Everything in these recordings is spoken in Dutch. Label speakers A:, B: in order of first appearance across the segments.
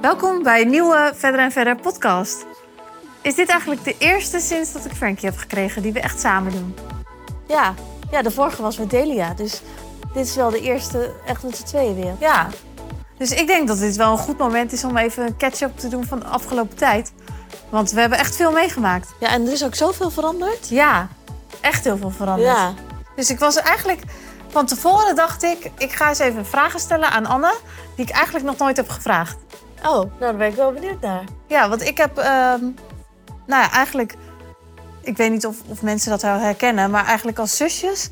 A: Welkom bij een nieuwe Verder en Verder podcast. Is dit eigenlijk de eerste sinds dat ik Frankie heb gekregen die we echt samen doen?
B: Ja. ja, de vorige was met Delia. Dus dit is wel de eerste echt met z'n tweeën weer.
A: Ja. Dus ik denk dat dit wel een goed moment is om even een catch-up te doen van de afgelopen tijd. Want we hebben echt veel meegemaakt.
B: Ja, en er is ook zoveel veranderd.
A: Ja, echt heel veel veranderd.
B: Ja.
A: Dus ik was eigenlijk van tevoren dacht ik, ik ga eens even vragen stellen aan Anne, die ik eigenlijk nog nooit heb gevraagd.
B: Oh, nou daar ben ik wel benieuwd naar.
A: Ja, want ik heb, ehm, nou ja, eigenlijk, ik weet niet of, of mensen dat wel herkennen, maar eigenlijk als zusjes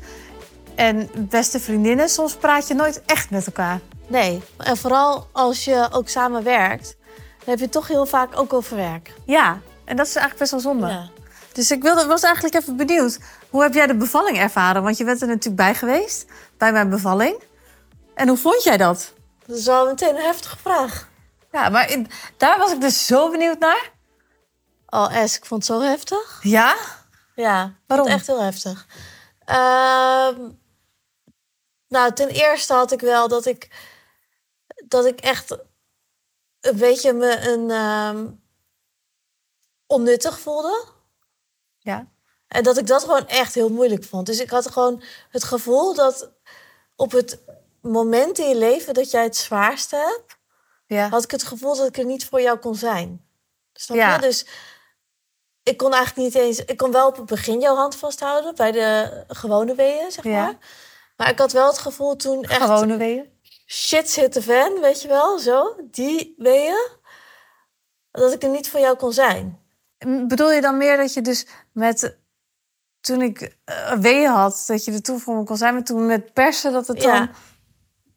A: en beste vriendinnen, soms praat je nooit echt met elkaar.
B: Nee, en vooral als je ook samen werkt, dan heb je het toch heel vaak ook over werk.
A: Ja, en dat is eigenlijk best wel zonde.
B: Ja.
A: Dus ik wilde, was eigenlijk even benieuwd, hoe heb jij de bevalling ervaren? Want je bent er natuurlijk bij geweest, bij mijn bevalling. En hoe vond jij dat?
B: Dat is wel meteen een heftige vraag.
A: Ja, maar in- daar was ik dus zo benieuwd naar.
B: Oh, Es, ik vond het zo heftig.
A: Ja?
B: Ja, ik
A: Waarom?
B: vond het echt heel heftig. Ehm, nou, ten eerste had ik wel dat ik, dat ik echt een beetje me een ehm, onnuttig voelde.
A: Ja.
B: En dat ik dat gewoon echt heel moeilijk vond. Dus ik had gewoon het gevoel dat op het moment in je leven dat jij het zwaarste hebt,
A: Ja.
B: had ik het gevoel dat ik er niet voor jou kon zijn. Snap
A: Ja.
B: je? Dus ik kon eigenlijk niet eens. Ik kon wel op het begin jouw hand vasthouden bij de gewone weeën, zeg
A: Ja.
B: maar. Maar ik had wel het gevoel toen echt
A: Gewone weeën.
B: shit zit de fan, weet je wel, zo, die weeën, dat ik er niet voor jou kon zijn.
A: M, Bedoel je dan meer dat je dus met... Toen ik eh, weeën had, dat je er toen voor me kon zijn. Maar toen met persen, dat het
B: Ja.
A: dan...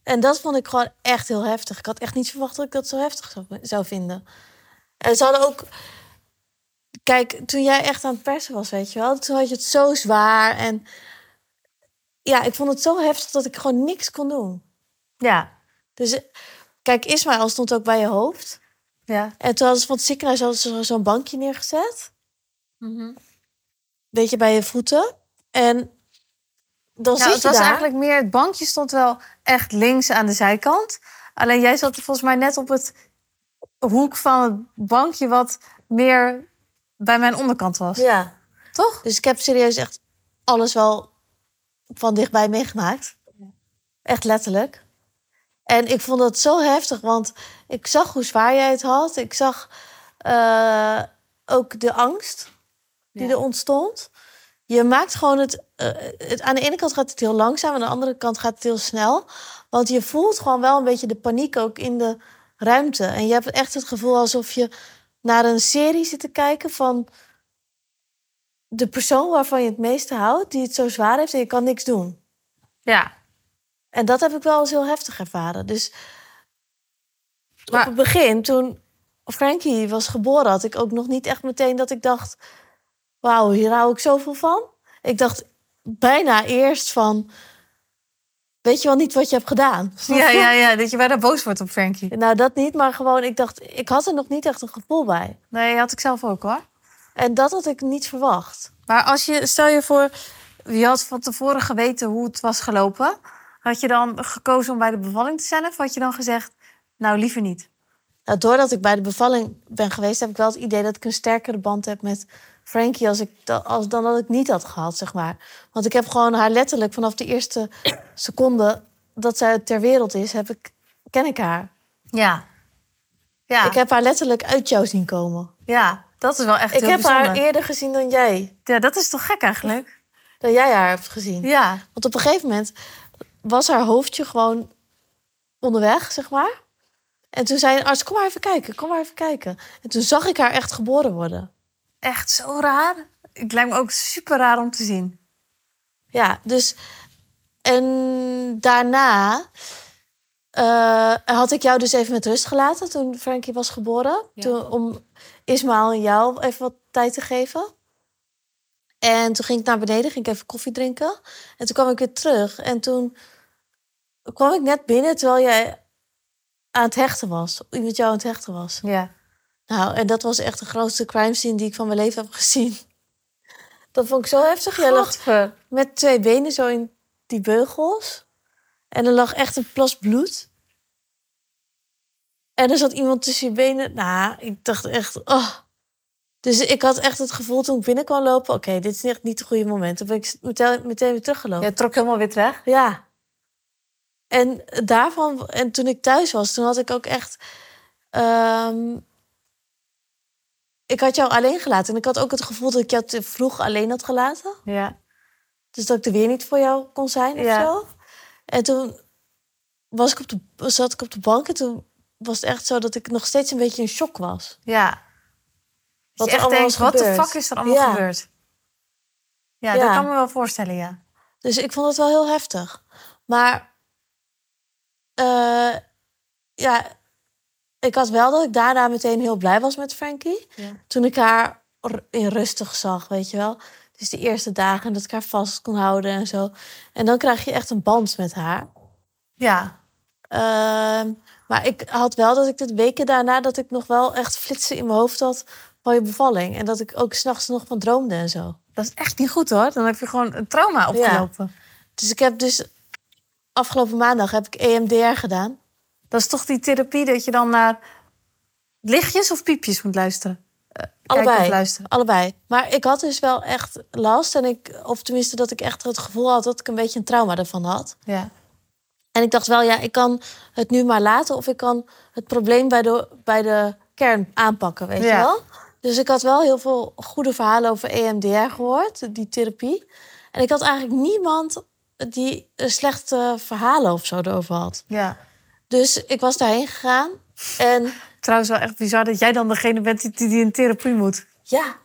B: En dat vond ik gewoon echt heel heftig. Ik had echt niet verwacht dat ik dat zo heftig zou, zou vinden. En ze hadden ook. Kijk, toen jij echt aan het persen was, weet je wel, toen had je het zo zwaar. En ja, ik vond het zo heftig dat ik gewoon niks kon doen.
A: Ja.
B: Dus eh, kijk, Ismaël stond ook bij je hoofd.
A: Ja.
B: En toen hadden ze van het ziekenhuis hadden ze zo'n bankje neergezet.
A: Mhm.
B: Weet je, bij je voeten. En
A: Nou,
B: dan zit
A: het
B: je
A: was
B: daar.
A: eigenlijk meer... Het bankje stond wel echt links aan de zijkant. Alleen jij zat volgens mij net op het hoek van het bankje... wat meer bij mijn onderkant was.
B: Ja.
A: Toch?
B: Dus ik heb serieus echt alles wel van dichtbij meegemaakt. Echt letterlijk. En ik vond dat zo heftig, want ik zag hoe zwaar jij het had. Ik zag eh, ook de angst die
A: Ja.
B: er ontstond. Je maakt gewoon het, eh, het... Aan de ene kant gaat het heel langzaam, aan de andere kant gaat het heel snel. Want je voelt gewoon wel een beetje de paniek ook in de ruimte. En je hebt echt het gevoel alsof je naar een serie zit te kijken van de persoon waarvan je het meeste houdt, die het zo zwaar heeft en je kan niks doen.
A: Ja.
B: En dat heb ik wel eens heel heftig ervaren. Dus
A: Maar-
B: op het begin, toen Frankie was geboren, had ik ook nog niet echt meteen dat ik dacht: Wauw, hier hou ik zoveel van. Ik dacht bijna eerst van: Weet je wel niet wat je hebt gedaan? Snap
A: Ja,
B: je?
A: ja, ja. Dat je bijna boos wordt op Frankie.
B: Nou, dat niet, maar gewoon, ik dacht, ik had er nog niet echt een gevoel bij.
A: Nee, had ik zelf ook hoor.
B: En dat had ik niet verwacht.
A: Maar als je, stel je voor, je had van tevoren geweten hoe het was gelopen. Had je dan gekozen om bij de bevalling te zijn of had je dan gezegd, nou liever niet?
B: Nou, doordat ik bij de bevalling ben geweest, heb ik wel het idee dat ik een sterkere band heb met Frankie als ik da- als, dan dat ik niet had gehad, zeg maar. Want ik heb gewoon haar letterlijk vanaf de eerste seconde dat zij ter wereld is, heb ik, ken ik haar.
A: Ja. Ja,
B: Ik heb haar letterlijk uit jou zien komen.
A: ja dat is wel echt
B: ik
A: heel
B: heb
A: bijzonder.
B: haar eerder gezien dan jij,
A: Ja, dat is toch gek eigenlijk?
B: dan jij haar hebt gezien.
A: Ja.
B: Want op een gegeven moment was haar hoofdje gewoon onderweg, zeg maar. En toen zei een arts, kom maar even kijken, kom maar even kijken. En toen zag ik haar echt geboren worden.
A: Echt zo raar. Het lijkt me ook super raar om te zien.
B: Ja, dus. En daarna eh, had ik jou dus even met rust gelaten toen Frankie was geboren.
A: Ja.
B: Toen, om Ismaël en jou even wat tijd te geven. En toen ging ik naar beneden, ging ik even koffie drinken. En toen kwam ik weer terug. En toen kwam ik net binnen terwijl jij aan het hechten was. Iemand jou aan het hechten was.
A: Ja.
B: Nou, en dat was echt de grootste crime scene die ik van mijn leven heb gezien. Dat vond ik zo heftig. Jij lag met twee benen zo in die beugels. En er lag echt een plas bloed. En er zat iemand tussen je benen. Nou, ik dacht echt, oh. Dus ik had echt het gevoel toen ik binnen kwam lopen... oké, dit is echt niet het goede moment. Toen ben ik meteen, meteen weer teruggelopen.
A: Je trok helemaal weer terug.
B: Ja. En daarvan, en toen ik thuis was, toen had ik ook echt. ehm, ik had jou alleen gelaten. En ik had ook het gevoel dat ik jou te vroeg alleen had gelaten.
A: Ja.
B: Dus dat ik er weer niet voor jou kon zijn of
A: Ja.
B: zo. En toen was ik op de, zat ik op de bank en toen was het echt zo dat ik nog steeds een beetje in shock was.
A: Ja. Dat
B: Wat
A: je
B: er
A: echt
B: allemaal
A: denkt,
B: is
A: wat de
B: gebeurd.
A: fuck is er allemaal
B: Ja.
A: gebeurd? Ja,
B: Ja.
A: dat kan me wel voorstellen, ja.
B: Dus ik vond het wel heel heftig. Maar eh, ja, ik had wel dat ik daarna meteen heel blij was met Frankie.
A: Ja.
B: Toen ik haar r- in rustig zag, weet je wel. Dus de eerste dagen dat ik haar vast kon houden en zo. En dan krijg je echt een band met haar.
A: Ja,
B: Ehm, maar ik had wel dat ik de weken daarna dat ik nog wel echt flitsen in mijn hoofd had van je bevalling. En dat ik ook s'nachts nog van droomde en zo.
A: dat is echt niet goed hoor. Dan heb je gewoon een trauma opgelopen.
B: Dus ik heb dus afgelopen maandag heb ik E EMDR gedaan.
A: Dat is toch die therapie dat je dan naar lichtjes of piepjes moet luisteren? Eh, Kijken
B: Allebei.
A: of luisteren.
B: Allebei. Maar ik had dus wel echt last. En ik, of tenminste, dat ik echt het gevoel had dat ik een beetje een trauma ervan had.
A: Ja.
B: En ik dacht wel, ja, ik kan het nu maar laten. Of ik kan het probleem bij de, bij de kern aanpakken, weet
A: Ja.
B: je wel? Dus ik had wel heel veel goede verhalen over E EMDR gehoord, die therapie. En ik had eigenlijk niemand die eh, slechte verhalen of zo erover had.
A: ja.
B: Dus ik was daarheen gegaan. En
A: Trouwens wel echt bizar dat jij dan degene bent die, die, die in therapie moet.
B: ja.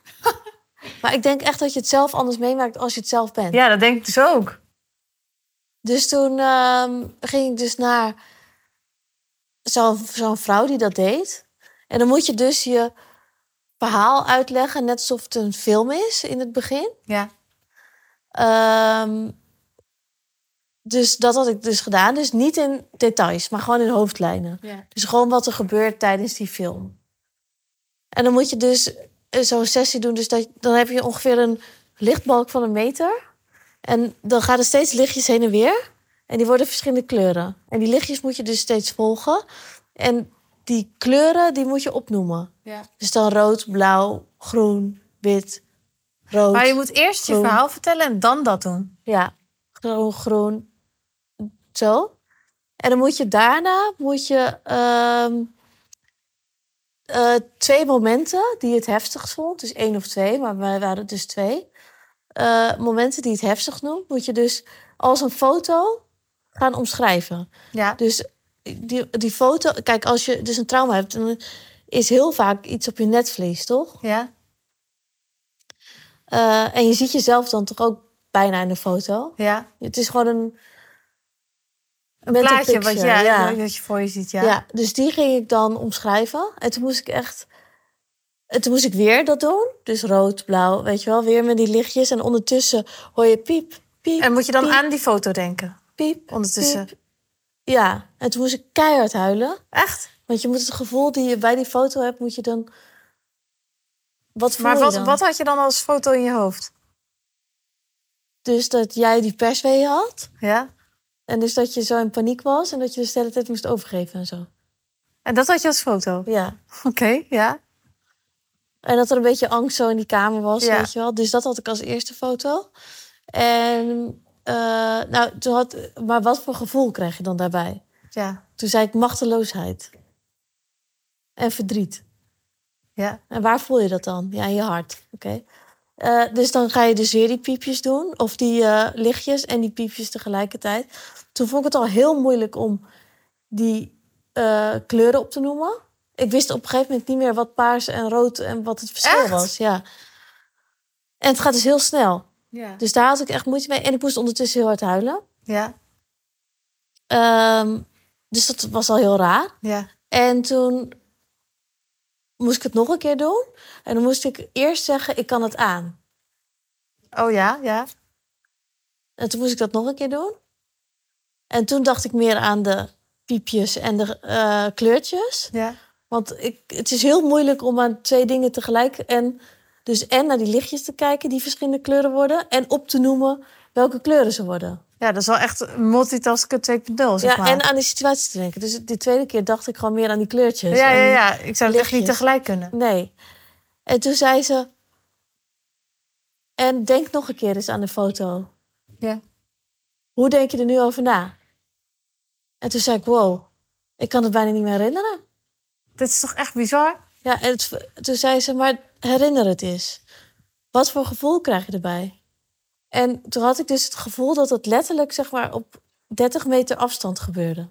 B: maar ik denk echt dat je het zelf anders meemaakt als je het zelf bent.
A: Ja, dat denk ik dus ook.
B: Dus toen ehm, ging ik dus naar zo'n zo'n vrouw die dat deed. En dan moet je dus je verhaal uitleggen, net alsof het een film is in het begin.
A: Ja.
B: Ehm, dus dat had ik dus gedaan. Dus niet in details, maar gewoon in hoofdlijnen.
A: ja.
B: Dus gewoon wat er gebeurt tijdens die film. En dan moet je dus eh, zo'n sessie doen. Dus dat, dan heb je ongeveer een lichtbalk van een meter. En dan gaan er steeds lichtjes heen en weer. En die worden verschillende kleuren. En die lichtjes moet je dus steeds volgen. En die kleuren, die moet je opnoemen.
A: Ja.
B: Dus dan rood, blauw, groen, wit, rood.
A: Maar je moet eerst je
B: Groen.
A: verhaal vertellen en dan dat doen.
B: Ja, groen, groen, zo. En dan moet je daarna moet je, ehm, eh, twee momenten die je het heftigst vond, dus één of twee, maar wij waren dus twee. eh, momenten die het heftig noemt, moet je dus als een foto gaan omschrijven.
A: Ja.
B: Dus die, die foto, kijk, als je dus een trauma hebt, dan is heel vaak iets op je netvlies, toch?
A: Ja.
B: Eh, en je ziet jezelf dan toch ook bijna in de foto.
A: Ja.
B: Het is gewoon een.
A: Een
B: mental
A: plaatje
B: picture,
A: wat, ja,
B: ja.
A: dat je voor je ziet.
B: Ja. dus die ging ik dan omschrijven. En toen moest ik echt. En toen moest ik weer dat doen. Dus rood, blauw, weet je wel. Weer met die lichtjes. En ondertussen hoor je piep, piep.
A: En moet je dan
B: piep,
A: aan die foto denken?
B: Piep.
A: ondertussen?
B: piep. Ja, en toen moest ik keihard huilen.
A: Echt?
B: Want je moet het gevoel die je bij die foto hebt, moet je dan. Wat voel
A: Maar
B: je
A: wat,
B: dan?
A: wat had je dan als foto in je hoofd?
B: Dus dat jij die perswee had.
A: Ja.
B: En dus dat je zo in paniek was. En dat je dus de hele tijd moest overgeven en zo.
A: En dat had je als foto?
B: Ja.
A: Oké, ja.
B: En dat er een beetje angst zo in die kamer was,
A: Ja.
B: weet je wel. Dus dat had ik als eerste foto. En eh, nou, toen had, maar wat voor gevoel kreeg je dan daarbij?
A: Ja.
B: Toen zei ik machteloosheid. En verdriet.
A: Ja.
B: En waar voel je dat dan? Ja, in je hart. Oké. Eh, dus dan ga je dus weer die piepjes doen. Of die eh, lichtjes en die piepjes tegelijkertijd. Toen vond ik het al heel moeilijk om die eh, kleuren op te noemen. Ik wist op een gegeven moment niet meer wat paars en rood en wat het verschil
A: Echt?
B: was. Ja. En het gaat dus heel snel.
A: Ja.
B: Dus daar had ik echt moeite mee. En ik moest ondertussen heel hard huilen.
A: Ja.
B: Ehm, dus dat was al heel raar.
A: Ja.
B: En toen moest ik het nog een keer doen. En dan moest ik eerst zeggen, ik kan het aan.
A: Oh ja, ja.
B: En toen moest ik dat nog een keer doen. En toen dacht ik meer aan de piepjes en de eh, kleurtjes.
A: Ja.
B: Want ik, het is heel moeilijk om aan twee dingen tegelijk... En, dus en naar die lichtjes te kijken die verschillende kleuren worden... en op te noemen welke kleuren ze worden.
A: Ja, dat is wel echt multitasken 2.0, zeg
B: Ja,
A: maar.
B: en aan de situatie te denken. Dus de tweede keer dacht ik gewoon meer aan die kleurtjes.
A: ja, ja,
B: En-
A: ja. Ik zou het echt niet
B: lichtjes.
A: tegelijk kunnen.
B: Nee. En toen zei ze... En denk nog een keer eens aan de foto.
A: Ja.
B: Hoe denk je er nu over na? En toen zei ik, wow, ik kan het bijna niet meer herinneren.
A: Dit is toch echt bizar?
B: Ja, en het- toen zei ze, maar herinner het eens. Wat voor gevoel krijg je erbij? En toen had ik dus het gevoel dat het letterlijk zeg maar, op 30 meter afstand gebeurde.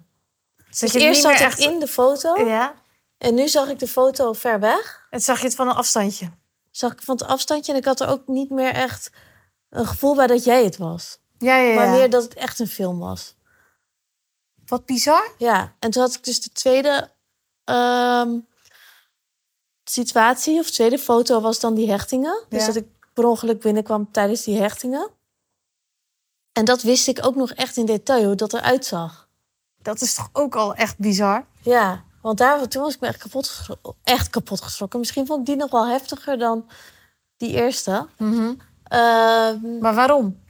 A: Dat
B: Dus
A: je het
B: eerst
A: niet
B: zat
A: meer
B: ik
A: echt...
B: in de foto
A: Ja.
B: en nu zag ik de foto ver weg.
A: Het zag je het van een afstandje.
B: Zag ik van het afstandje en ik had er ook niet meer echt een gevoel bij dat jij het was.
A: Ja, ja, ja.
B: Maar meer dat het echt een film was.
A: Wat bizar.
B: Ja, en toen had ik dus de tweede ehm, situatie, of tweede foto, was dan die hechtingen. Dus
A: Ja.
B: dat ik per ongeluk binnenkwam tijdens die hechtingen. En dat wist ik ook nog echt in detail, hoe dat eruit zag.
A: Dat is toch ook al echt bizar?
B: Ja, want daar, toen was ik me echt kapot, geschro- echt kapot geschrokken. Misschien vond ik die nog wel heftiger dan die eerste. Ehm,
A: Maar waarom?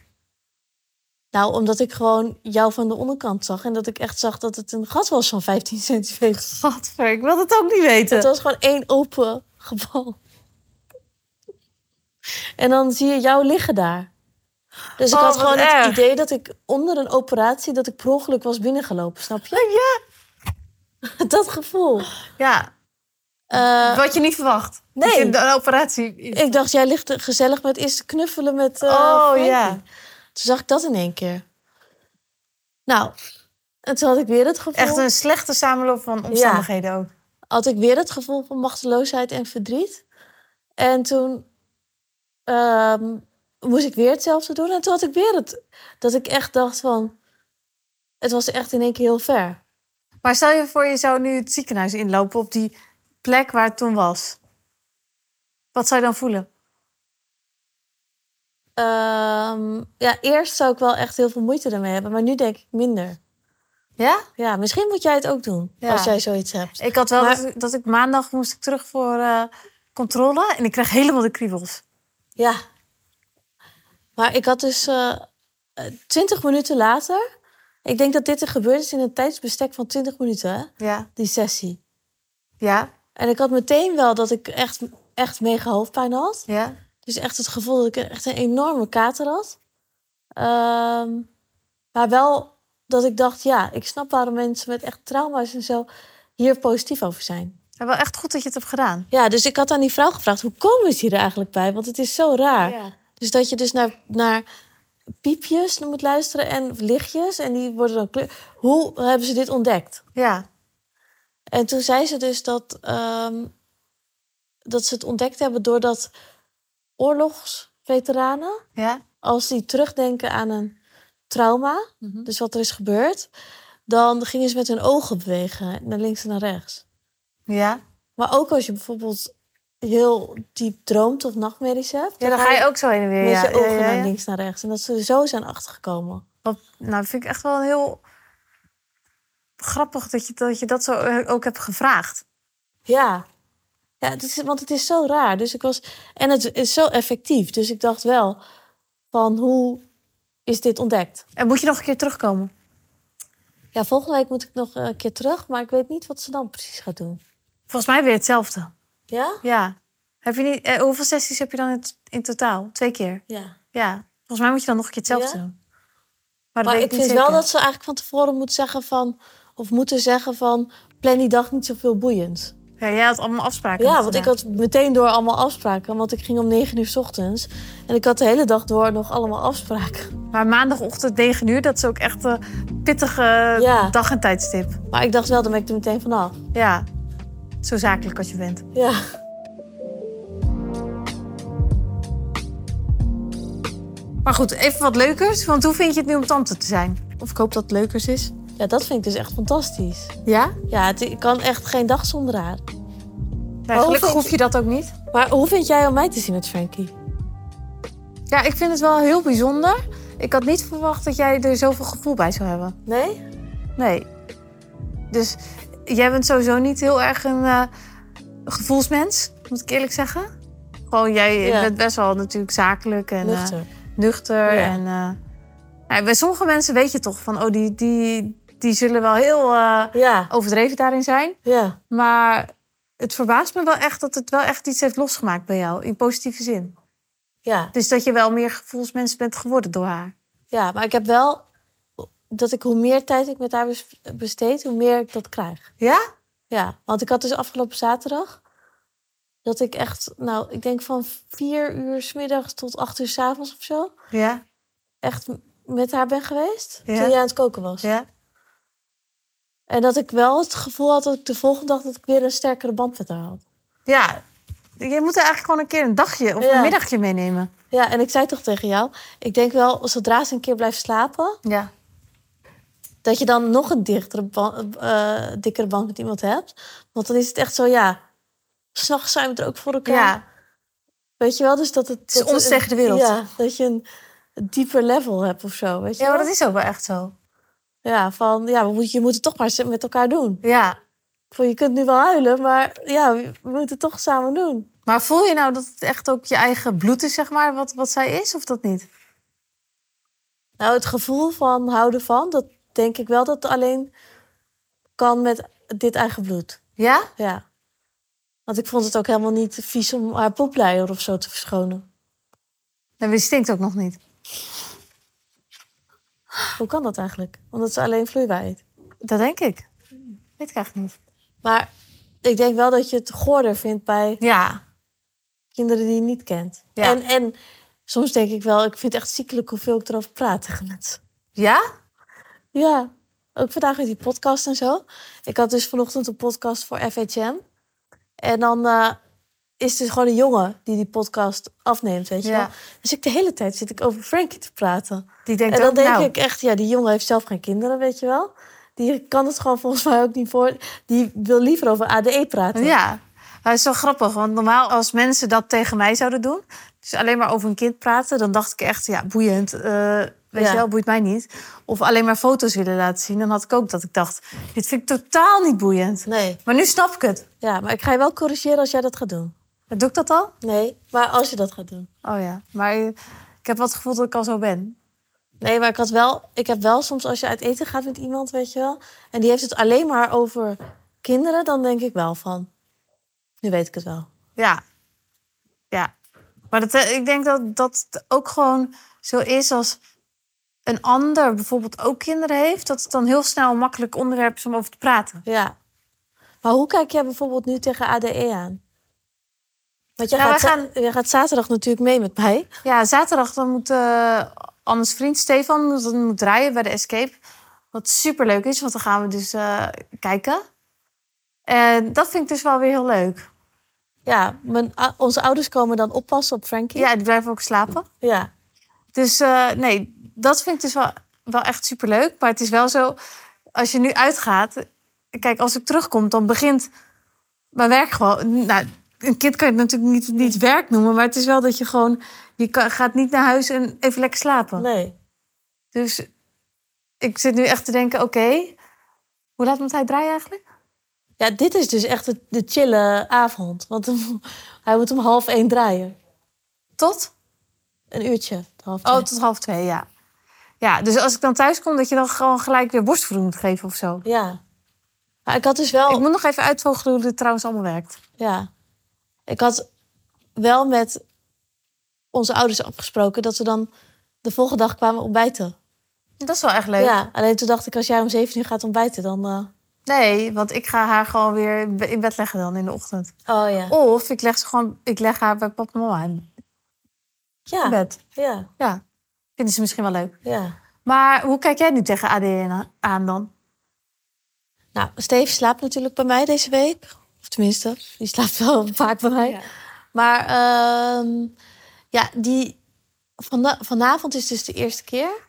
B: nou, omdat ik gewoon jou van de onderkant zag. En dat ik echt zag dat het een gat was van 15 centimeter.
A: Gadver, ik wil het ook niet weten.
B: Het was gewoon één open gebal. En dan zie je jou liggen daar. Dus ik
A: Oh,
B: had
A: wat
B: gewoon
A: erg.
B: het idee dat ik onder een operatie... dat ik per ongeluk was binnengelopen, snap je?
A: Ja.
B: Dat gevoel.
A: Ja,
B: Eh,
A: wat je niet verwacht.
B: nee.
A: Dat je Een operatie.
B: ik dacht, jij ligt er gezellig met eerst te knuffelen met... eh,
A: oh
B: Frankie.
A: ja.
B: Toen zag ik dat in één keer. Nou, en toen had ik weer het gevoel...
A: Echt een slechte samenloop van omstandigheden ook.
B: had ik weer het gevoel van machteloosheid en verdriet. En toen ehm, moest ik weer hetzelfde doen. En toen had ik weer het, dat ik echt dacht van... Het was echt in één keer heel ver.
A: Maar stel je voor, je zou nu het ziekenhuis inlopen op die plek waar het toen was. Wat zou je dan voelen?
B: Ehm, ja, eerst zou ik wel echt heel veel moeite ermee hebben. Maar nu denk ik minder.
A: Ja?
B: Ja, misschien moet jij het ook doen.
A: Ja.
B: Als jij zoiets hebt.
A: Ik had wel
B: Maar-
A: dat, dat ik maandag moest ik terug voor eh, controle en ik kreeg helemaal de kriebels.
B: Ja. Maar ik had dus twintig minuten later... Ik denk dat dit er gebeurd is in een tijdsbestek van 20 minuten, hè?
A: Ja.
B: Die sessie.
A: Ja.
B: En ik had meteen wel dat ik echt, echt mega hoofdpijn had.
A: Ja.
B: Dus echt het gevoel dat ik echt een enorme kater had. Ehm, maar wel dat ik dacht, ja, ik snap waarom mensen met echt trauma's en zo hier positief over zijn.
A: En wel echt goed dat je het hebt gedaan.
B: Ja, dus ik had aan die vrouw gevraagd, hoe komen ze hier eigenlijk bij? Want het is zo raar. Dus dat je dus naar, naar piepjes moet luisteren en lichtjes. En die worden dan kleur... Hoe hebben ze dit ontdekt?
A: Ja.
B: En toen zei ze dus dat, ehm, dat ze het ontdekt hebben doordat oorlogsveteranen,
A: Ja.
B: als die terugdenken aan een trauma,
A: Mhm.
B: dus wat er is gebeurd, dan gingen ze met hun ogen bewegen, naar links en naar rechts.
A: Ja.
B: Maar ook als je bijvoorbeeld heel diep droomt of nachtmerries hebt,
A: Ja, dan ga je ook zo heen en weer.
B: met
A: ja.
B: je
A: Ja,
B: ogen
A: ja, ja.
B: naar links en naar rechts. En dat ze er zo zijn achtergekomen.
A: Wat, nou, dat vind ik echt wel een heel grappig dat je dat, je dat zo eh, ook hebt gevraagd.
B: Ja. Ja, het is, want het is zo raar. Dus ik was, en het is zo effectief. Dus ik dacht wel van hoe is dit ontdekt?
A: En moet je nog een keer terugkomen?
B: Ja, volgende week moet ik nog een keer terug, maar ik weet niet wat ze dan precies gaat doen.
A: Volgens mij weer hetzelfde.
B: Ja?
A: Ja. Heb je niet, eh, hoeveel sessies heb je dan in, t- in totaal? Twee keer?
B: Ja.
A: Ja. Volgens mij moet je dan nog een keer hetzelfde
B: Ja?
A: doen. Maar, dat
B: Maar
A: weet ik
B: ik
A: niet
B: vind wel
A: zeker.
B: dat ze eigenlijk van tevoren moet zeggen van, of moeten zeggen van, plan die dag niet zoveel boeiend.
A: Ja, jij had allemaal afspraken.
B: Ja,
A: nog
B: want ik
A: gedaan.
B: had meteen door allemaal afspraken, want ik ging om 9 uur 's ochtends en ik had de hele dag door nog allemaal afspraken.
A: Maar maandagochtend 9 uur, dat is ook echt een pittige
B: Ja.
A: dag- en tijdstip.
B: Maar ik dacht wel, dan ben ik er meteen vanaf.
A: Ja. Zo zakelijk als je bent.
B: Ja.
A: Maar goed, even wat leukers. Want hoe vind je het nu om tante te zijn? Of ik hoop dat het leukers is.
B: Ja, dat vind ik dus echt fantastisch.
A: Ja?
B: Ja, Oh, het, ik kan echt geen dag zonder haar.
A: Nee,
B: Oh,
A: gelukkig
B: vind
A: hoef je dat ook niet.
B: Maar hoe vind jij om mij te zien met Frankie?
A: Ja, ik vind het wel heel bijzonder. Ik had niet verwacht dat jij er zoveel gevoel bij zou hebben.
B: Nee?
A: Nee. Dus jij bent sowieso niet heel erg een eh, gevoelsmens, moet ik eerlijk zeggen. Gewoon, jij
B: Ja.
A: bent best wel natuurlijk zakelijk en eh,
B: Nuchter.
A: nuchter
B: Ja.
A: en eh, Nou, bij sommige mensen weet je toch van, oh, die, die, die zullen wel heel eh,
B: Ja,
A: overdreven daarin zijn.
B: ja.
A: Maar het verbaast me wel echt dat het wel echt iets heeft losgemaakt bij jou, in positieve zin.
B: ja.
A: Dus dat je wel meer gevoelsmens bent geworden door haar.
B: Ja, maar ik heb wel dat ik hoe meer tijd ik met haar bes- besteed, hoe meer ik dat krijg.
A: Ja?
B: Ja, want ik had dus afgelopen zaterdag dat ik echt, nou, ik denk van vier uur 's middags tot acht uur 's avonds of zo,
A: Ja?
B: echt m- met haar ben geweest
A: Ja.
B: toen jij aan het koken was.
A: Ja?
B: En dat ik wel het gevoel had dat ik de volgende dag dat ik weer een sterkere band met haar had.
A: Ja. Je moet er eigenlijk gewoon een keer een dagje of
B: Ja.
A: een middagje meenemen.
B: Ja, en ik zei toch tegen jou, ik denk wel, zodra ze een keer blijft slapen,
A: Ja.
B: dat je dan nog een dichtere ban- eh, dikkere band met iemand hebt. Want dan is het echt zo, ja, s'nachts zijn we er ook voor elkaar.
A: Ja.
B: Weet je wel, dus dat het...
A: is
B: dat
A: ons
B: een-
A: tegen de wereld.
B: Ja, dat je een dieper level hebt of zo, weet je
A: Ja, maar
B: wel?
A: dat is ook wel echt zo.
B: Ja, van, ja, we moet, je moet het toch maar met elkaar doen.
A: Ja.
B: Van, je kunt nu wel huilen, maar ja, we we moeten het toch samen doen.
A: Maar voel je nou dat het echt ook je eigen bloed is, zeg maar, wat, wat zij is, of dat niet?
B: Nou, het gevoel van houden van, dat denk ik wel dat alleen kan met dit eigen bloed.
A: Ja?
B: Ja. Want ik vond het ook helemaal niet vies om haar poepleier of zo te verschonen.
A: En Nou, die stinkt ook nog niet.
B: Hoe kan dat eigenlijk? Omdat ze alleen vloeibaar eet.
A: Dat denk ik. Weet ik eigenlijk niet.
B: Maar ik denk wel dat je het goorder vindt bij
A: Ja.
B: kinderen die je niet kent.
A: Ja.
B: En, en soms denk ik wel, ik vind het echt ziekelijk hoeveel ik erover praat tegen mensen.
A: Ja?
B: Ja, ook vandaag met die podcast en zo. Ik had dus vanochtend een podcast voor FHM. En dan eh, is het dus gewoon een jongen die die podcast afneemt, weet je
A: Ja.
B: wel. Dus ik de hele tijd zit ik over Frankie te praten.
A: Die denkt
B: en dan
A: ook,
B: denk
A: nou,
B: ik echt, ja, die jongen heeft zelf geen kinderen, weet je wel. Die kan het gewoon volgens mij ook niet voor. Die wil liever over ADE praten.
A: Ja, dat is wel grappig. Want normaal als mensen dat tegen mij zouden doen... dus alleen maar over een kind praten... dan dacht ik echt, ja, boeiend. eh, weet
B: Ja.
A: je wel, boeit mij niet. Of alleen maar foto's willen laten zien. Dan had ik ook dat ik dacht, dit vind ik totaal niet boeiend.
B: Nee.
A: Maar nu snap ik het.
B: Ja, maar ik ga je wel corrigeren als jij dat gaat doen.
A: Doe ik dat al?
B: Nee, maar als je dat gaat doen.
A: Oh ja, maar eh, ik heb wel het gevoel dat ik al zo ben.
B: Nee, maar ik had wel, ik heb wel soms als je uit eten gaat met iemand, weet je wel, en die heeft het alleen maar over kinderen, dan denk ik wel van, nu weet ik het wel.
A: Ja. Ja. Maar dat, eh, ik denk dat dat het ook gewoon zo is als een ander bijvoorbeeld ook kinderen heeft... dat het dan heel snel een makkelijk onderwerp is om over te praten.
B: Ja. Maar hoe kijk jij bijvoorbeeld nu tegen ADE aan? Want jij,
A: Nou,
B: gaat,
A: wij
B: za- jij gaat zaterdag natuurlijk mee met mij.
A: Ja, zaterdag dan moet eh Anne's vriend Stefan moet, dan moet draaien bij de Escape. Wat superleuk is, want dan gaan we dus eh, kijken. En dat vind ik dus wel weer heel leuk.
B: Ja, mijn, a- onze ouders komen dan oppassen op Frankie.
A: Ja, die blijven ook slapen.
B: ja.
A: Dus eh, nee, dat vind ik dus wel, wel echt superleuk. Maar het is wel zo, als je nu uitgaat... Kijk, als ik terugkom, dan begint mijn werk gewoon... Nou, een kind kan je het natuurlijk niet, niet werk noemen... maar het is wel dat je gewoon... Je kan- gaat niet naar huis en even lekker slapen.
B: Nee.
A: Dus ik zit nu echt te denken, oké, hoe laat moet hij draaien eigenlijk?
B: Ja, dit is dus echt de, de chille avond. Want hij moet om half één draaien.
A: Tot?
B: Een uurtje. Half
A: Oh,
B: twee.
A: tot half twee, ja. Ja, dus als ik dan thuis kom, dat je dan gewoon gelijk weer borstvoeding moet geven of zo.
B: Ja. Maar ik had dus wel...
A: Ik moet nog even uitvogelen hoe dit trouwens allemaal werkt.
B: Ja. Ik had wel met onze ouders afgesproken dat we dan de volgende dag kwamen ontbijten.
A: Dat is wel echt leuk.
B: Ja, alleen toen dacht ik, als jij om zeven uur gaat ontbijten, dan... eh,
A: Nee, want ik ga haar gewoon weer in be- in bed leggen dan in de ochtend.
B: Oh ja.
A: Of ik leg, ze gewoon, ik leg haar bij papa en mama in
B: Ja, ja,
A: bed.
B: ja,
A: Ja, vinden ze misschien wel leuk. Maar hoe kijk jij nu tegen ADN aan dan?
B: Nou, Steve slaapt natuurlijk bij mij deze week. Of tenminste, die slaapt wel vaak bij mij.
A: Ja.
B: Maar ehm, ja, die... Vana- vanavond is dus de eerste keer.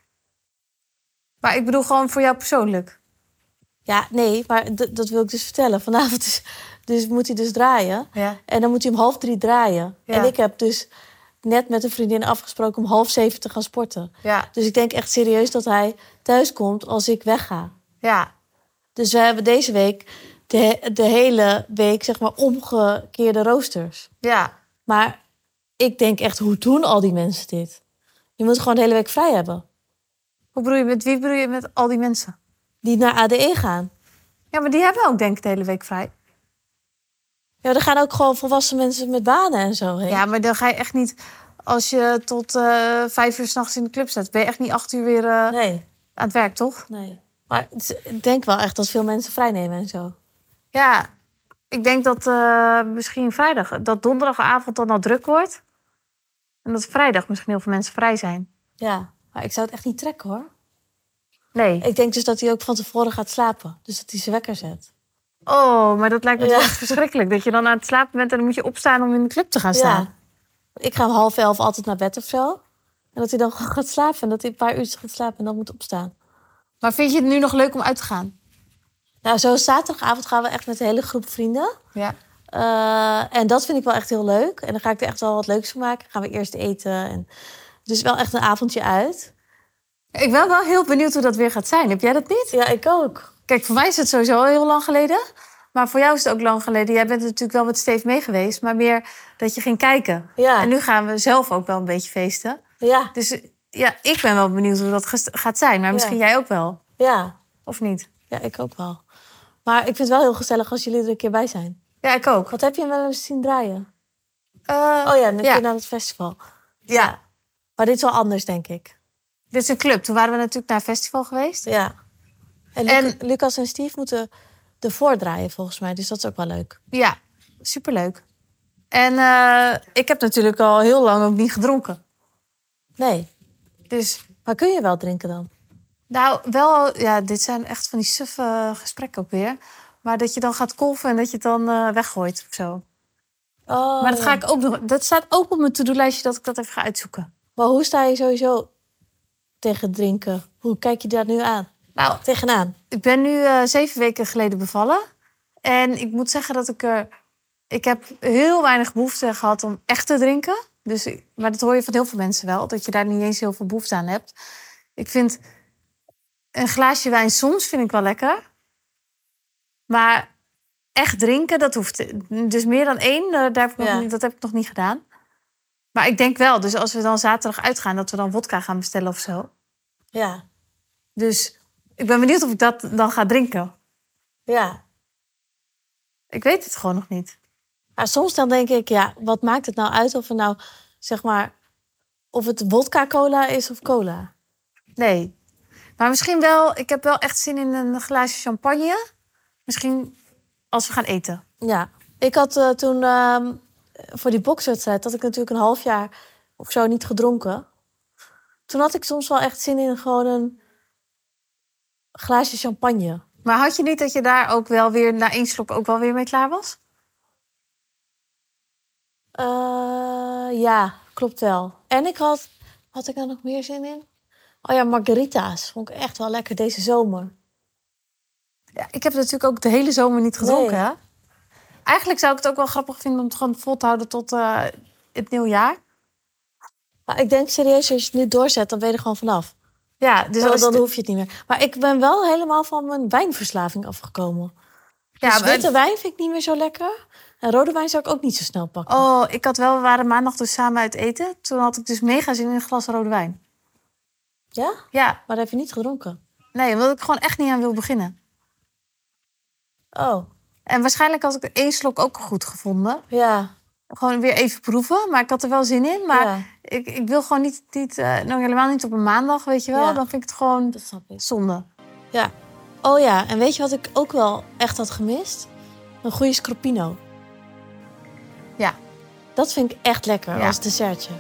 A: Maar ik bedoel gewoon voor jou persoonlijk.
B: Ja, nee, maar d- dat wil ik dus vertellen. Vanavond is, dus moet hij dus draaien.
A: Ja.
B: En dan moet hij om half drie draaien.
A: Ja.
B: En ik heb dus net met een vriendin afgesproken om half zeven te gaan sporten.
A: Ja,
B: Dus ik denk echt serieus dat hij thuis komt als ik wegga.
A: ja.
B: Dus we hebben deze week de, he- de hele week, zeg maar, omgekeerde roosters.
A: Ja,
B: Maar ik denk echt, hoe doen al die mensen dit? Je moet gewoon de hele week vrij hebben.
A: Hoe bedoel je, met wie bedoel je met al die mensen?
B: Die naar ADE gaan.
A: Ja, maar die hebben ook denk ik de hele week vrij.
B: Ja, er gaan ook gewoon volwassen mensen met banen en zo heen.
A: Ja, maar dan ga je echt niet... Als je tot eh, vijf uur s'nachts in de club zit, ben je echt niet acht uur weer eh,
B: Nee,
A: aan het werk, toch?
B: nee. Maar het is- ik denk wel echt dat veel mensen vrij nemen en zo.
A: Ja, ik denk dat eh, misschien vrijdag, dat donderdagavond dan al druk wordt. En dat vrijdag misschien heel veel mensen vrij zijn.
B: Ja, maar ik zou het echt niet trekken hoor.
A: Nee.
B: Ik denk dus dat hij ook van tevoren gaat slapen. Dus dat hij zijn wekker zet.
A: Oh, maar dat lijkt me
B: Ja.
A: toch echt verschrikkelijk. Dat je dan aan het slapen bent en dan moet je opstaan om in de club te gaan staan.
B: Ik ga om half elf altijd naar bed of zo. En dat hij dan gewoon gaat slapen. En dat hij een paar uurtjes gaat slapen en dan moet opstaan.
A: Maar vind je het nu nog leuk om uit te gaan?
B: Nou, zo zaterdagavond gaan we echt met een hele groep vrienden.
A: Ja.
B: Eh, en dat vind ik wel echt heel leuk. En dan ga ik er echt wel wat leuks van maken. Gaan we eerst eten. En... Dus wel echt een avondje uit.
A: Ik ben wel heel benieuwd hoe dat weer gaat zijn. Heb jij dat niet?
B: Ja, ik ook.
A: Kijk, voor mij is het sowieso al heel lang geleden. Maar voor jou is het ook lang geleden. Jij bent natuurlijk wel met Steve mee geweest. Maar meer dat je ging kijken.
B: Ja,
A: En nu gaan we zelf ook wel een beetje feesten.
B: ja,
A: Dus eh, ja, ik ben wel benieuwd hoe dat gest- gaat zijn. Maar misschien jij ook wel,
B: ja.
A: of niet?
B: ja, ik ook wel. Maar ik vind het wel heel gezellig als jullie er een keer bij zijn.
A: Ja, ik ook.
B: Wat heb je hem wel eens zien draaien?
A: Eh,
B: Oh ja, net
A: Ja.
B: keer naar het festival.
A: ja.
B: Maar dit is wel anders, denk ik.
A: Dit is een club. Toen waren we natuurlijk naar een festival geweest.
B: Ja. En, Lu-
A: En-
B: Lucas en Steve moeten ervoor draaien, volgens mij. Dus dat is ook wel leuk.
A: Ja, superleuk. En eh, ik heb natuurlijk al heel lang ook niet gedronken.
B: Nee.
A: Dus
B: Maar kun je wel drinken dan?
A: nou, wel, ja, dit zijn echt van die suffe gesprekken ook weer. Maar dat je dan gaat kolven en dat je het dan eh, weggooit of zo.
B: Oh.
A: Maar dat ga ik ook nog. Dat staat ook op mijn to-do-lijstje dat ik dat even ga uitzoeken.
B: Maar hoe sta je sowieso tegen drinken? Hoe kijk je daar nu aan?
A: Nou,
B: Tegenaan?
A: Ik ben nu eh, zeven weken geleden bevallen. En ik moet zeggen dat ik er... Ik heb heel weinig behoefte gehad om echt te drinken. Dus, ik- maar dat hoor je van heel veel mensen wel. Dat je daar niet eens heel veel behoefte aan hebt. Ik vind een glaasje wijn soms vind ik wel lekker. Maar echt drinken, dat hoeft... Dus meer dan één, eh, daar heb ik nog
B: Ja.
A: niet- dat heb ik nog niet gedaan. Maar ik denk wel, dus als we dan zaterdag uitgaan... dat we dan wodka gaan bestellen of zo.
B: Ja.
A: Dus ik ben benieuwd of ik dat dan ga drinken.
B: Ja.
A: Ik weet het gewoon nog niet.
B: Maar soms dan denk ik, ja, wat maakt het nou uit of het nou, zeg maar, of het vodka-cola is of cola?
A: Nee. Maar misschien wel, ik heb wel echt zin in een glaasje champagne. Misschien als we gaan eten.
B: Ja. Ik had eh, toen ehm, voor die bokswedstrijd, had ik natuurlijk een half jaar of zo niet gedronken. Toen had ik soms wel echt zin in gewoon een glaasje champagne.
A: Maar had je niet dat je daar ook wel weer na één slok ook wel weer mee klaar was?
B: Eh, ja, klopt wel. En ik had, had ik daar nog meer zin in? Oh ja, margarita's vond ik echt wel lekker deze zomer.
A: Ja, ik heb natuurlijk ook de hele zomer niet gedronken.
B: Nee.
A: hè? Eigenlijk zou ik het ook wel grappig vinden om het gewoon vol te houden tot eh, het nieuwjaar.
B: Maar ik denk serieus, als je het nu doorzet, dan ben je er gewoon vanaf.
A: Ja, dus
B: Dus dan,
A: als
B: dan
A: het-
B: hoef je het niet meer. Maar ik ben wel helemaal van mijn wijnverslaving afgekomen.
A: ja,
B: dus
A: maar-
B: witte wijn vind ik niet meer zo lekker. En rode wijn zou ik ook niet zo snel pakken.
A: Oh, ik had wel, we waren maandag dus samen uit eten. Toen had ik dus mega zin in een glas rode wijn.
B: Ja?
A: Ja,
B: Maar dat heb je niet gedronken.
A: nee, omdat ik gewoon echt niet aan wil beginnen.
B: Oh,
A: En waarschijnlijk had ik de één slok ook goed gevonden.
B: ja.
A: Gewoon weer even proeven, maar ik had er wel zin in. Maar
B: ja,
A: ik, ik wil gewoon niet, niet eh, nog helemaal niet op een maandag, weet je wel.
B: Ja.
A: Dan vind ik het gewoon
B: dat snap ik.
A: zonde.
B: Ja. Oh ja, en weet je wat ik ook wel echt had gemist? Een goede scroppino.
A: Ja.
B: Dat vind ik echt lekker
A: Ja.
B: als dessertje.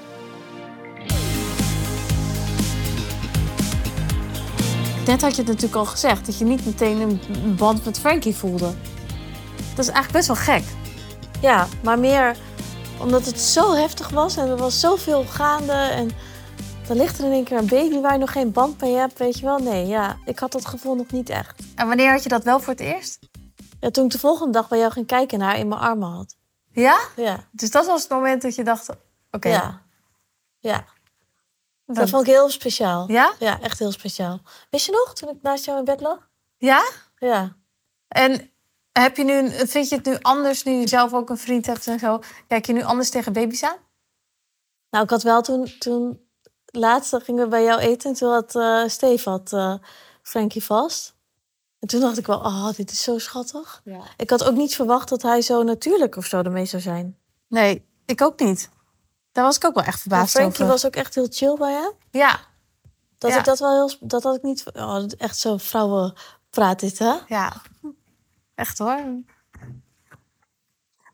A: Net had je het natuurlijk al gezegd, dat je niet meteen een een band met Frankie voelde. Dat is eigenlijk best wel gek.
B: Ja, maar meer omdat het zo heftig was en er was zoveel gaande. En dan ligt er in één keer een baby waar je nog geen band mee hebt, weet je wel. Nee, ja, ik had dat gevoel nog niet echt.
A: En wanneer had je dat wel voor het eerst?
B: Ja, toen ik de volgende dag bij jou ging kijken en haar in mijn armen had.
A: Ja?
B: Ja,
A: Dus dat was het moment dat je dacht, oké.
B: ja. Ja,
A: dan-
B: dat vond ik heel speciaal.
A: Ja?
B: Ja, echt heel speciaal. Wist je nog, toen ik naast jou in bed lag?
A: Ja?
B: Ja.
A: En heb je nu, een- vind je het nu anders nu je zelf ook een vriend hebt en zo? Kijk je nu anders tegen baby's aan?
B: Nou, ik had wel toen, toen laatst dan gingen we bij jou eten en toen had eh Steve had, eh, Frankie vast. En toen dacht ik wel, oh, dit is zo schattig.
A: Ja.
B: Ik had ook niet verwacht dat hij zo natuurlijk of zo ermee zou zijn.
A: Nee, ik ook niet. Daar was ik ook wel echt
B: En
A: verbaasd
B: Frankie
A: over.
B: was ook echt heel chill bij hem.
A: Ja,
B: Dat
A: Ja.
B: ik dat wel heel... sp- Dat had ik niet... Oh, dat is echt zo'n vrouwenpraat dit, hè?
A: ja. Echt hoor.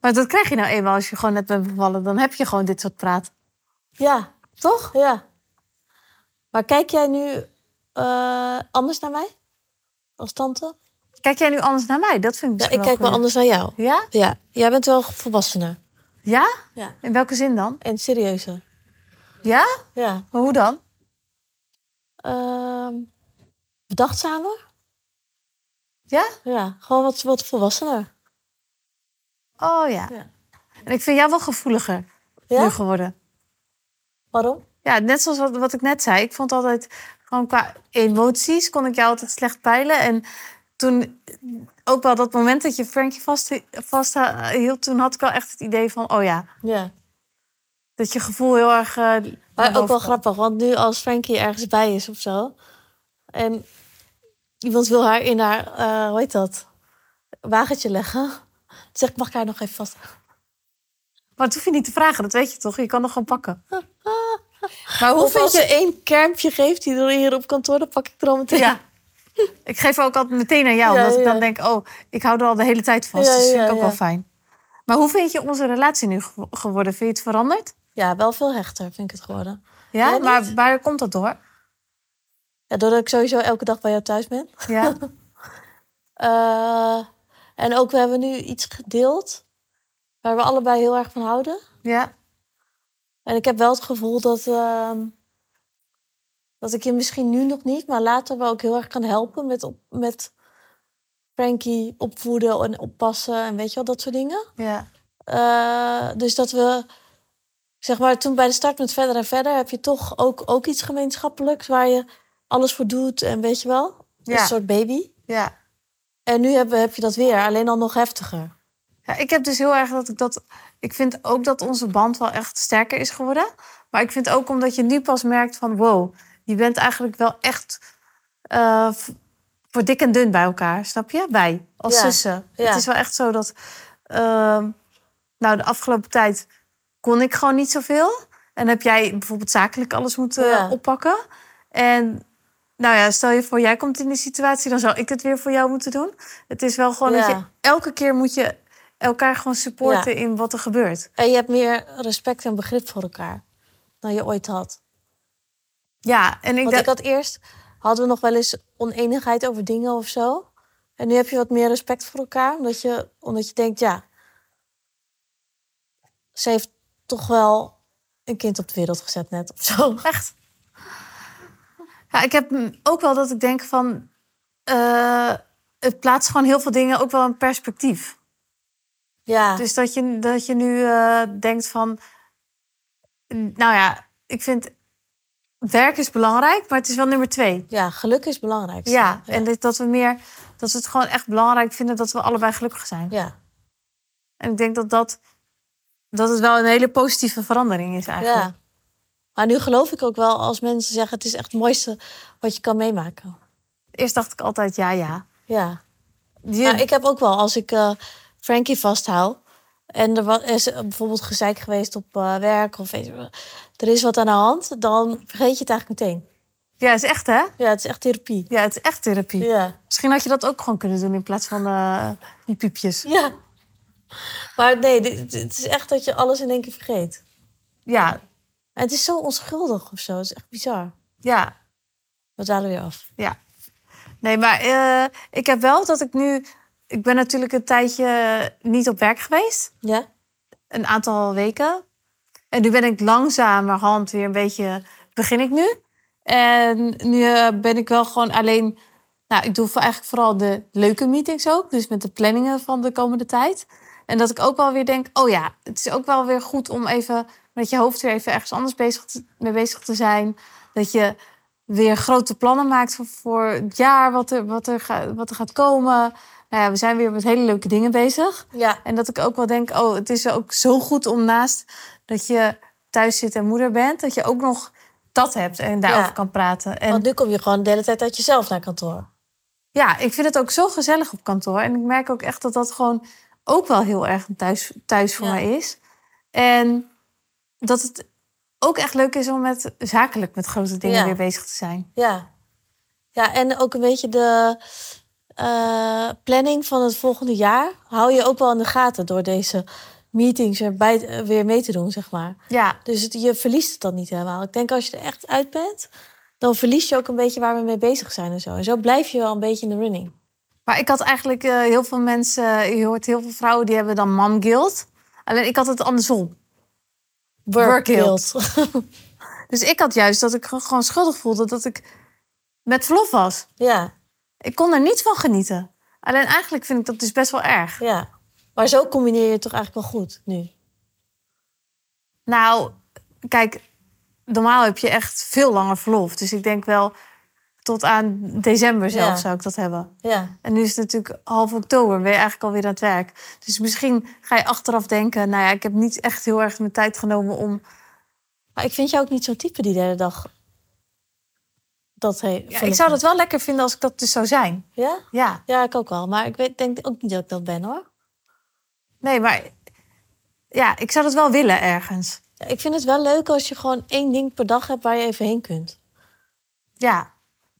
A: Maar dat krijg je nou eenmaal als je gewoon net bent bevallen. Dan heb je gewoon dit soort praat.
B: Ja,
A: Toch?
B: ja. Maar kijk jij nu eh, anders naar mij? Als tante?
A: Kijk jij nu anders naar mij? Dat vind ik
B: Ja,
A: misschien
B: ik kijk wel
A: goed.
B: anders naar jou.
A: Ja?
B: Ja, jij bent wel volwassener.
A: Ja?
B: Ja.
A: In welke zin dan?
B: En serieuzer.
A: Ja?
B: Ja.
A: Maar hoe dan?
B: Ehm, bedachtzamer.
A: Ja?
B: Ja, gewoon wat, wat volwassener.
A: Oh ja.
B: Ja.
A: En ik vind jou wel gevoeliger
B: Ja?
A: nu geworden.
B: Waarom?
A: Ja, net zoals wat, wat ik net zei. Ik vond altijd, gewoon qua emoties kon ik jou altijd slecht peilen. En toen, ook wel dat moment dat je Frankie vast, vasthield... toen had ik wel echt het idee van, oh ja,
B: Ja.
A: dat je gevoel heel erg... eh, naar
B: Maar
A: boven
B: ook wel
A: kwam.
B: grappig, want nu als Frankie ergens bij is of zo... en iemand wil haar in haar, eh, hoe heet dat, wagentje leggen... zeg ik, mag ik haar nog even vast...
A: Maar dat hoef je niet te vragen, dat weet je toch? Je kan nog gewoon pakken. Maar hoe
B: Oh, Of
A: vind
B: als
A: je...
B: je één kermpje geeft die er hier op kantoor, dan pak ik er al meteen.
A: Ja. Ik geef ook altijd meteen aan jou.
B: Ja,
A: omdat ik
B: ja.
A: dan denk, oh, ik hou er al de hele tijd vast.
B: Ja,
A: dus vind
B: ja,
A: ik ook
B: ja.
A: wel fijn. Maar hoe vind je onze relatie nu gew- geworden? Vind je het veranderd?
B: Ja, wel veel hechter vind ik het geworden.
A: Ja,
B: Jij niet?
A: maar waar komt dat door?
B: Ja, doordat ik sowieso elke dag bij jou thuis ben.
A: Ja,
B: Eh, en ook, we hebben nu iets gedeeld waar we allebei heel erg van houden.
A: ja,
B: En ik heb wel het gevoel dat, ehm, dat ik je misschien nu nog niet, maar later wel ook heel erg kan helpen met, op, met Frankie opvoeden en oppassen en weet je wel, dat soort dingen.
A: ja.
B: Eh, dus dat we, zeg maar, toen bij de start met verder en verder heb je toch ook, ook iets gemeenschappelijks waar je alles voor doet en weet je wel,
A: Ja.
B: een soort baby.
A: ja.
B: En nu heb, heb je dat weer, alleen al nog heftiger.
A: ja ik heb dus heel erg dat ik dat... Ik vind ook dat onze band wel echt sterker is geworden. Maar ik vind ook omdat je nu pas merkt van... wow, je bent eigenlijk wel echt eh, v- voor dik en dun bij elkaar, snap je? Wij, als
B: Ja,
A: zussen.
B: ja.
A: Het is wel echt zo dat... ehm, nou, de afgelopen tijd kon ik gewoon niet zoveel. En heb jij bijvoorbeeld zakelijk alles moeten
B: Ja.
A: oppakken. En nou ja, stel je voor, jij komt in die situatie... dan zou ik het weer voor jou moeten doen. Het is wel gewoon dat
B: Ja.
A: je... Elke keer moet je elkaar gewoon supporten in wat er gebeurt.
B: En je hebt meer respect en begrip voor elkaar dan je ooit had.
A: Ja, en ik
B: Want ik
A: denk...
B: had eerst, hadden we nog wel eens oneenigheid over dingen of zo. En nu heb je wat meer respect voor elkaar, omdat je, omdat je denkt, ja, ze heeft toch wel een kind op de wereld gezet net of zo.
A: Echt. Ja, ik heb mm, ook wel dat ik denk van... eh, het plaatst gewoon heel veel dingen ook wel in perspectief.
B: Ja,
A: Dus dat je, dat je nu eh, denkt van... Nou ja, ik vind... Werk is belangrijk, maar het is wel nummer twee.
B: ja geluk is belangrijk.
A: Ja, en dit- dat we meer... Dat we het gewoon echt belangrijk vinden dat we allebei gelukkig zijn.
B: ja.
A: En ik denk dat dat... Dat het wel een hele positieve verandering is eigenlijk.
B: ja. Maar nu geloof ik ook wel als mensen zeggen, het is echt het mooiste wat je kan meemaken.
A: Eerst dacht ik altijd, ja, ja.
B: Ja.
A: Je-
B: Maar ik heb ook wel, als ik eh, Frankie vasthoud. En er wa- is bijvoorbeeld gezeik geweest op eh, werk of weet je wel, er is wat aan de hand, dan vergeet je het eigenlijk meteen.
A: Ja, het is echt, hè?
B: Ja, het is echt therapie.
A: Ja, het is echt therapie.
B: Ja.
A: Misschien had je dat ook gewoon kunnen doen in plaats van eh, die piepjes.
B: ja. Maar nee, dit- dit- het is echt dat je alles in één keer vergeet.
A: Ja,
B: En het is zo onschuldig of zo. Het is echt bizar.
A: ja.
B: We dalen weer af.
A: Ja. Nee, maar eh, ik heb wel dat ik nu... Ik ben natuurlijk een tijdje niet op werk geweest.
B: Ja?
A: Een aantal weken. En nu ben ik langzamerhand weer een beetje... Begin ik nu. En nu eh, ben ik wel gewoon alleen... Nou, ik doe voor- eigenlijk vooral de leuke meetings ook. Dus met de planningen van de komende tijd. En dat ik ook wel weer denk... Oh ja, het is ook wel weer goed om even... Met je hoofd weer even ergens anders bezig te- mee bezig te zijn. Dat je weer grote plannen maakt voor, voor het jaar, wat er, wat, er ga- wat er gaat komen. Nou ja, we zijn weer met hele leuke dingen bezig.
B: Ja.
A: En dat ik ook wel denk, oh, het is ook zo goed om naast dat je thuis zit en moeder bent, dat je ook nog dat hebt en daarover
B: Ja.
A: kan praten. En
B: Want nu kom je gewoon de hele tijd uit jezelf naar kantoor.
A: ja, ik vind het ook zo gezellig op kantoor. En ik merk ook echt dat dat gewoon ook wel heel erg een thuis, thuis voor
B: Ja.
A: mij is. En dat het ook echt leuk is om met, zakelijk met grote dingen
B: Ja.
A: weer bezig te zijn.
B: Ja. Ja, en ook een beetje de eh, planning van het volgende jaar hou je ook wel in de gaten door deze meetings er bij, weer mee te doen, zeg maar.
A: Ja,
B: Dus het- je verliest het dan niet helemaal. Ik denk als je er echt uit bent, dan verlies je ook een beetje waar we mee bezig zijn en zo. En zo blijf je wel een beetje in de running.
A: Maar ik had eigenlijk eh, heel veel mensen, je hoort heel veel vrouwen die hebben dan mom guilt. Alleen ik had het andersom. Work guilt. Dus ik had juist dat ik ge- gewoon schuldig voelde dat ik met verlof was.
B: Ja,
A: Ik kon er niet van genieten. Alleen eigenlijk vind ik dat dus best wel erg.
B: ja. Maar zo combineer je het toch eigenlijk wel goed nu.
A: Nou, kijk, normaal heb je echt veel langer verlof. Dus ik denk wel tot aan december zelf
B: Ja.
A: zou ik dat hebben.
B: Ja,
A: En nu is het natuurlijk half oktober, ben je eigenlijk alweer aan het werk. Dus misschien ga je achteraf denken, nou ja, ik heb niet echt heel erg mijn tijd genomen om
B: maar ik vind jou ook niet zo'n type die de hele dag dat heeft.
A: Ja, ik zou dat wel lekker vinden als ik dat dus zou zijn.
B: Ja?
A: Ja,
B: Ja, ik ook wel. Maar ik weet, denk ook niet dat ik dat ben hoor.
A: nee, maar ja, ik zou dat wel willen ergens.
B: Ja, Ik vind het wel leuk als je gewoon één ding per dag hebt waar je even heen kunt.
A: Ja,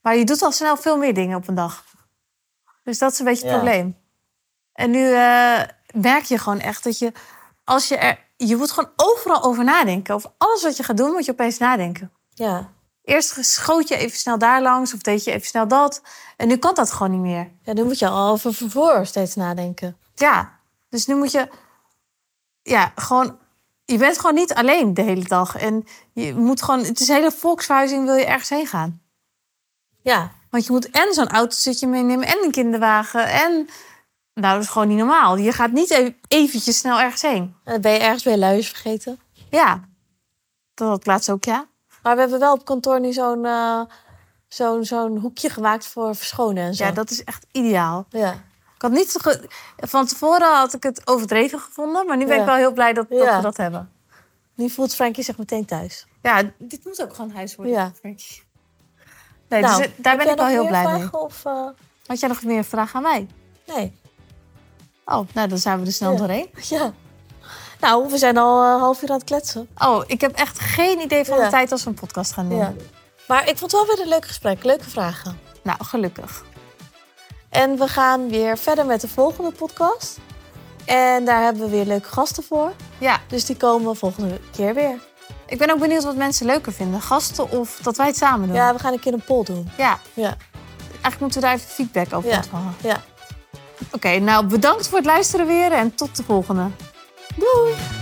A: maar je doet al snel veel meer dingen op een dag. Dus dat is een beetje het
B: Ja.
A: probleem. En nu eh, merk je gewoon echt dat je, als je er, je moet gewoon overal over nadenken. Over alles wat je gaat doen, moet je opeens nadenken.
B: Ja.
A: Eerst schoot je even snel daar langs of deed je even snel dat. En nu kan dat gewoon niet meer.
B: ja, dan moet je al over vervoer steeds nadenken.
A: Ja, dus nu moet je. Ja, gewoon. Je bent gewoon niet alleen de hele dag. En je moet gewoon. Het is een hele volksverhuizing, wil je ergens heen gaan.
B: Ja,
A: Want je moet en zo'n autosetje meenemen en een kinderwagen. En. Nou, dat is gewoon niet normaal. Je gaat niet even, eventjes snel ergens heen.
B: en dan ben je ergens weer luiers vergeten.
A: Ja. Dat had ik laatst ook, ja.
B: Maar we hebben wel op kantoor nu zo'n eh, zo'n zo'n hoekje gemaakt voor verschonen en zo.
A: Ja, dat is echt ideaal.
B: ja.
A: Ik had niet zo ge- Van tevoren had ik het overdreven gevonden. Maar nu ben
B: Ja.
A: ik wel heel blij dat, dat
B: Ja.
A: we dat hebben.
B: Nu voelt Frankie zich meteen thuis.
A: Ja, dit moet ook gewoon huis worden.
B: Ja. Nou,
A: Nee, dus daar ben ik wel heel blij mee.
B: mee. Of, eh,
A: Had jij nog meer vragen aan mij?
B: nee.
A: Oh, nou dan zijn we er snel
B: Ja.
A: doorheen.
B: Ja. Nou, we zijn al eh, een half uur aan het kletsen.
A: Oh, ik heb echt geen idee van
B: Ja.
A: de tijd als we een podcast gaan doen.
B: Ja. Maar ik vond het wel weer een leuk gesprek. Leuke vragen.
A: Nou, gelukkig.
B: En we gaan weer verder met de volgende podcast. En daar hebben we weer leuke gasten voor.
A: Ja,
B: Dus die komen volgende keer weer.
A: ik ben ook benieuwd wat mensen leuker vinden. Gasten of dat wij het samen doen.
B: Ja, we gaan een keer een poll doen.
A: Ja,
B: Ja,
A: eigenlijk moeten we daar even feedback over
B: Ja.
A: ontvangen.
B: ja.
A: Oké, nou bedankt voor het luisteren weer en tot de volgende.
B: Doei!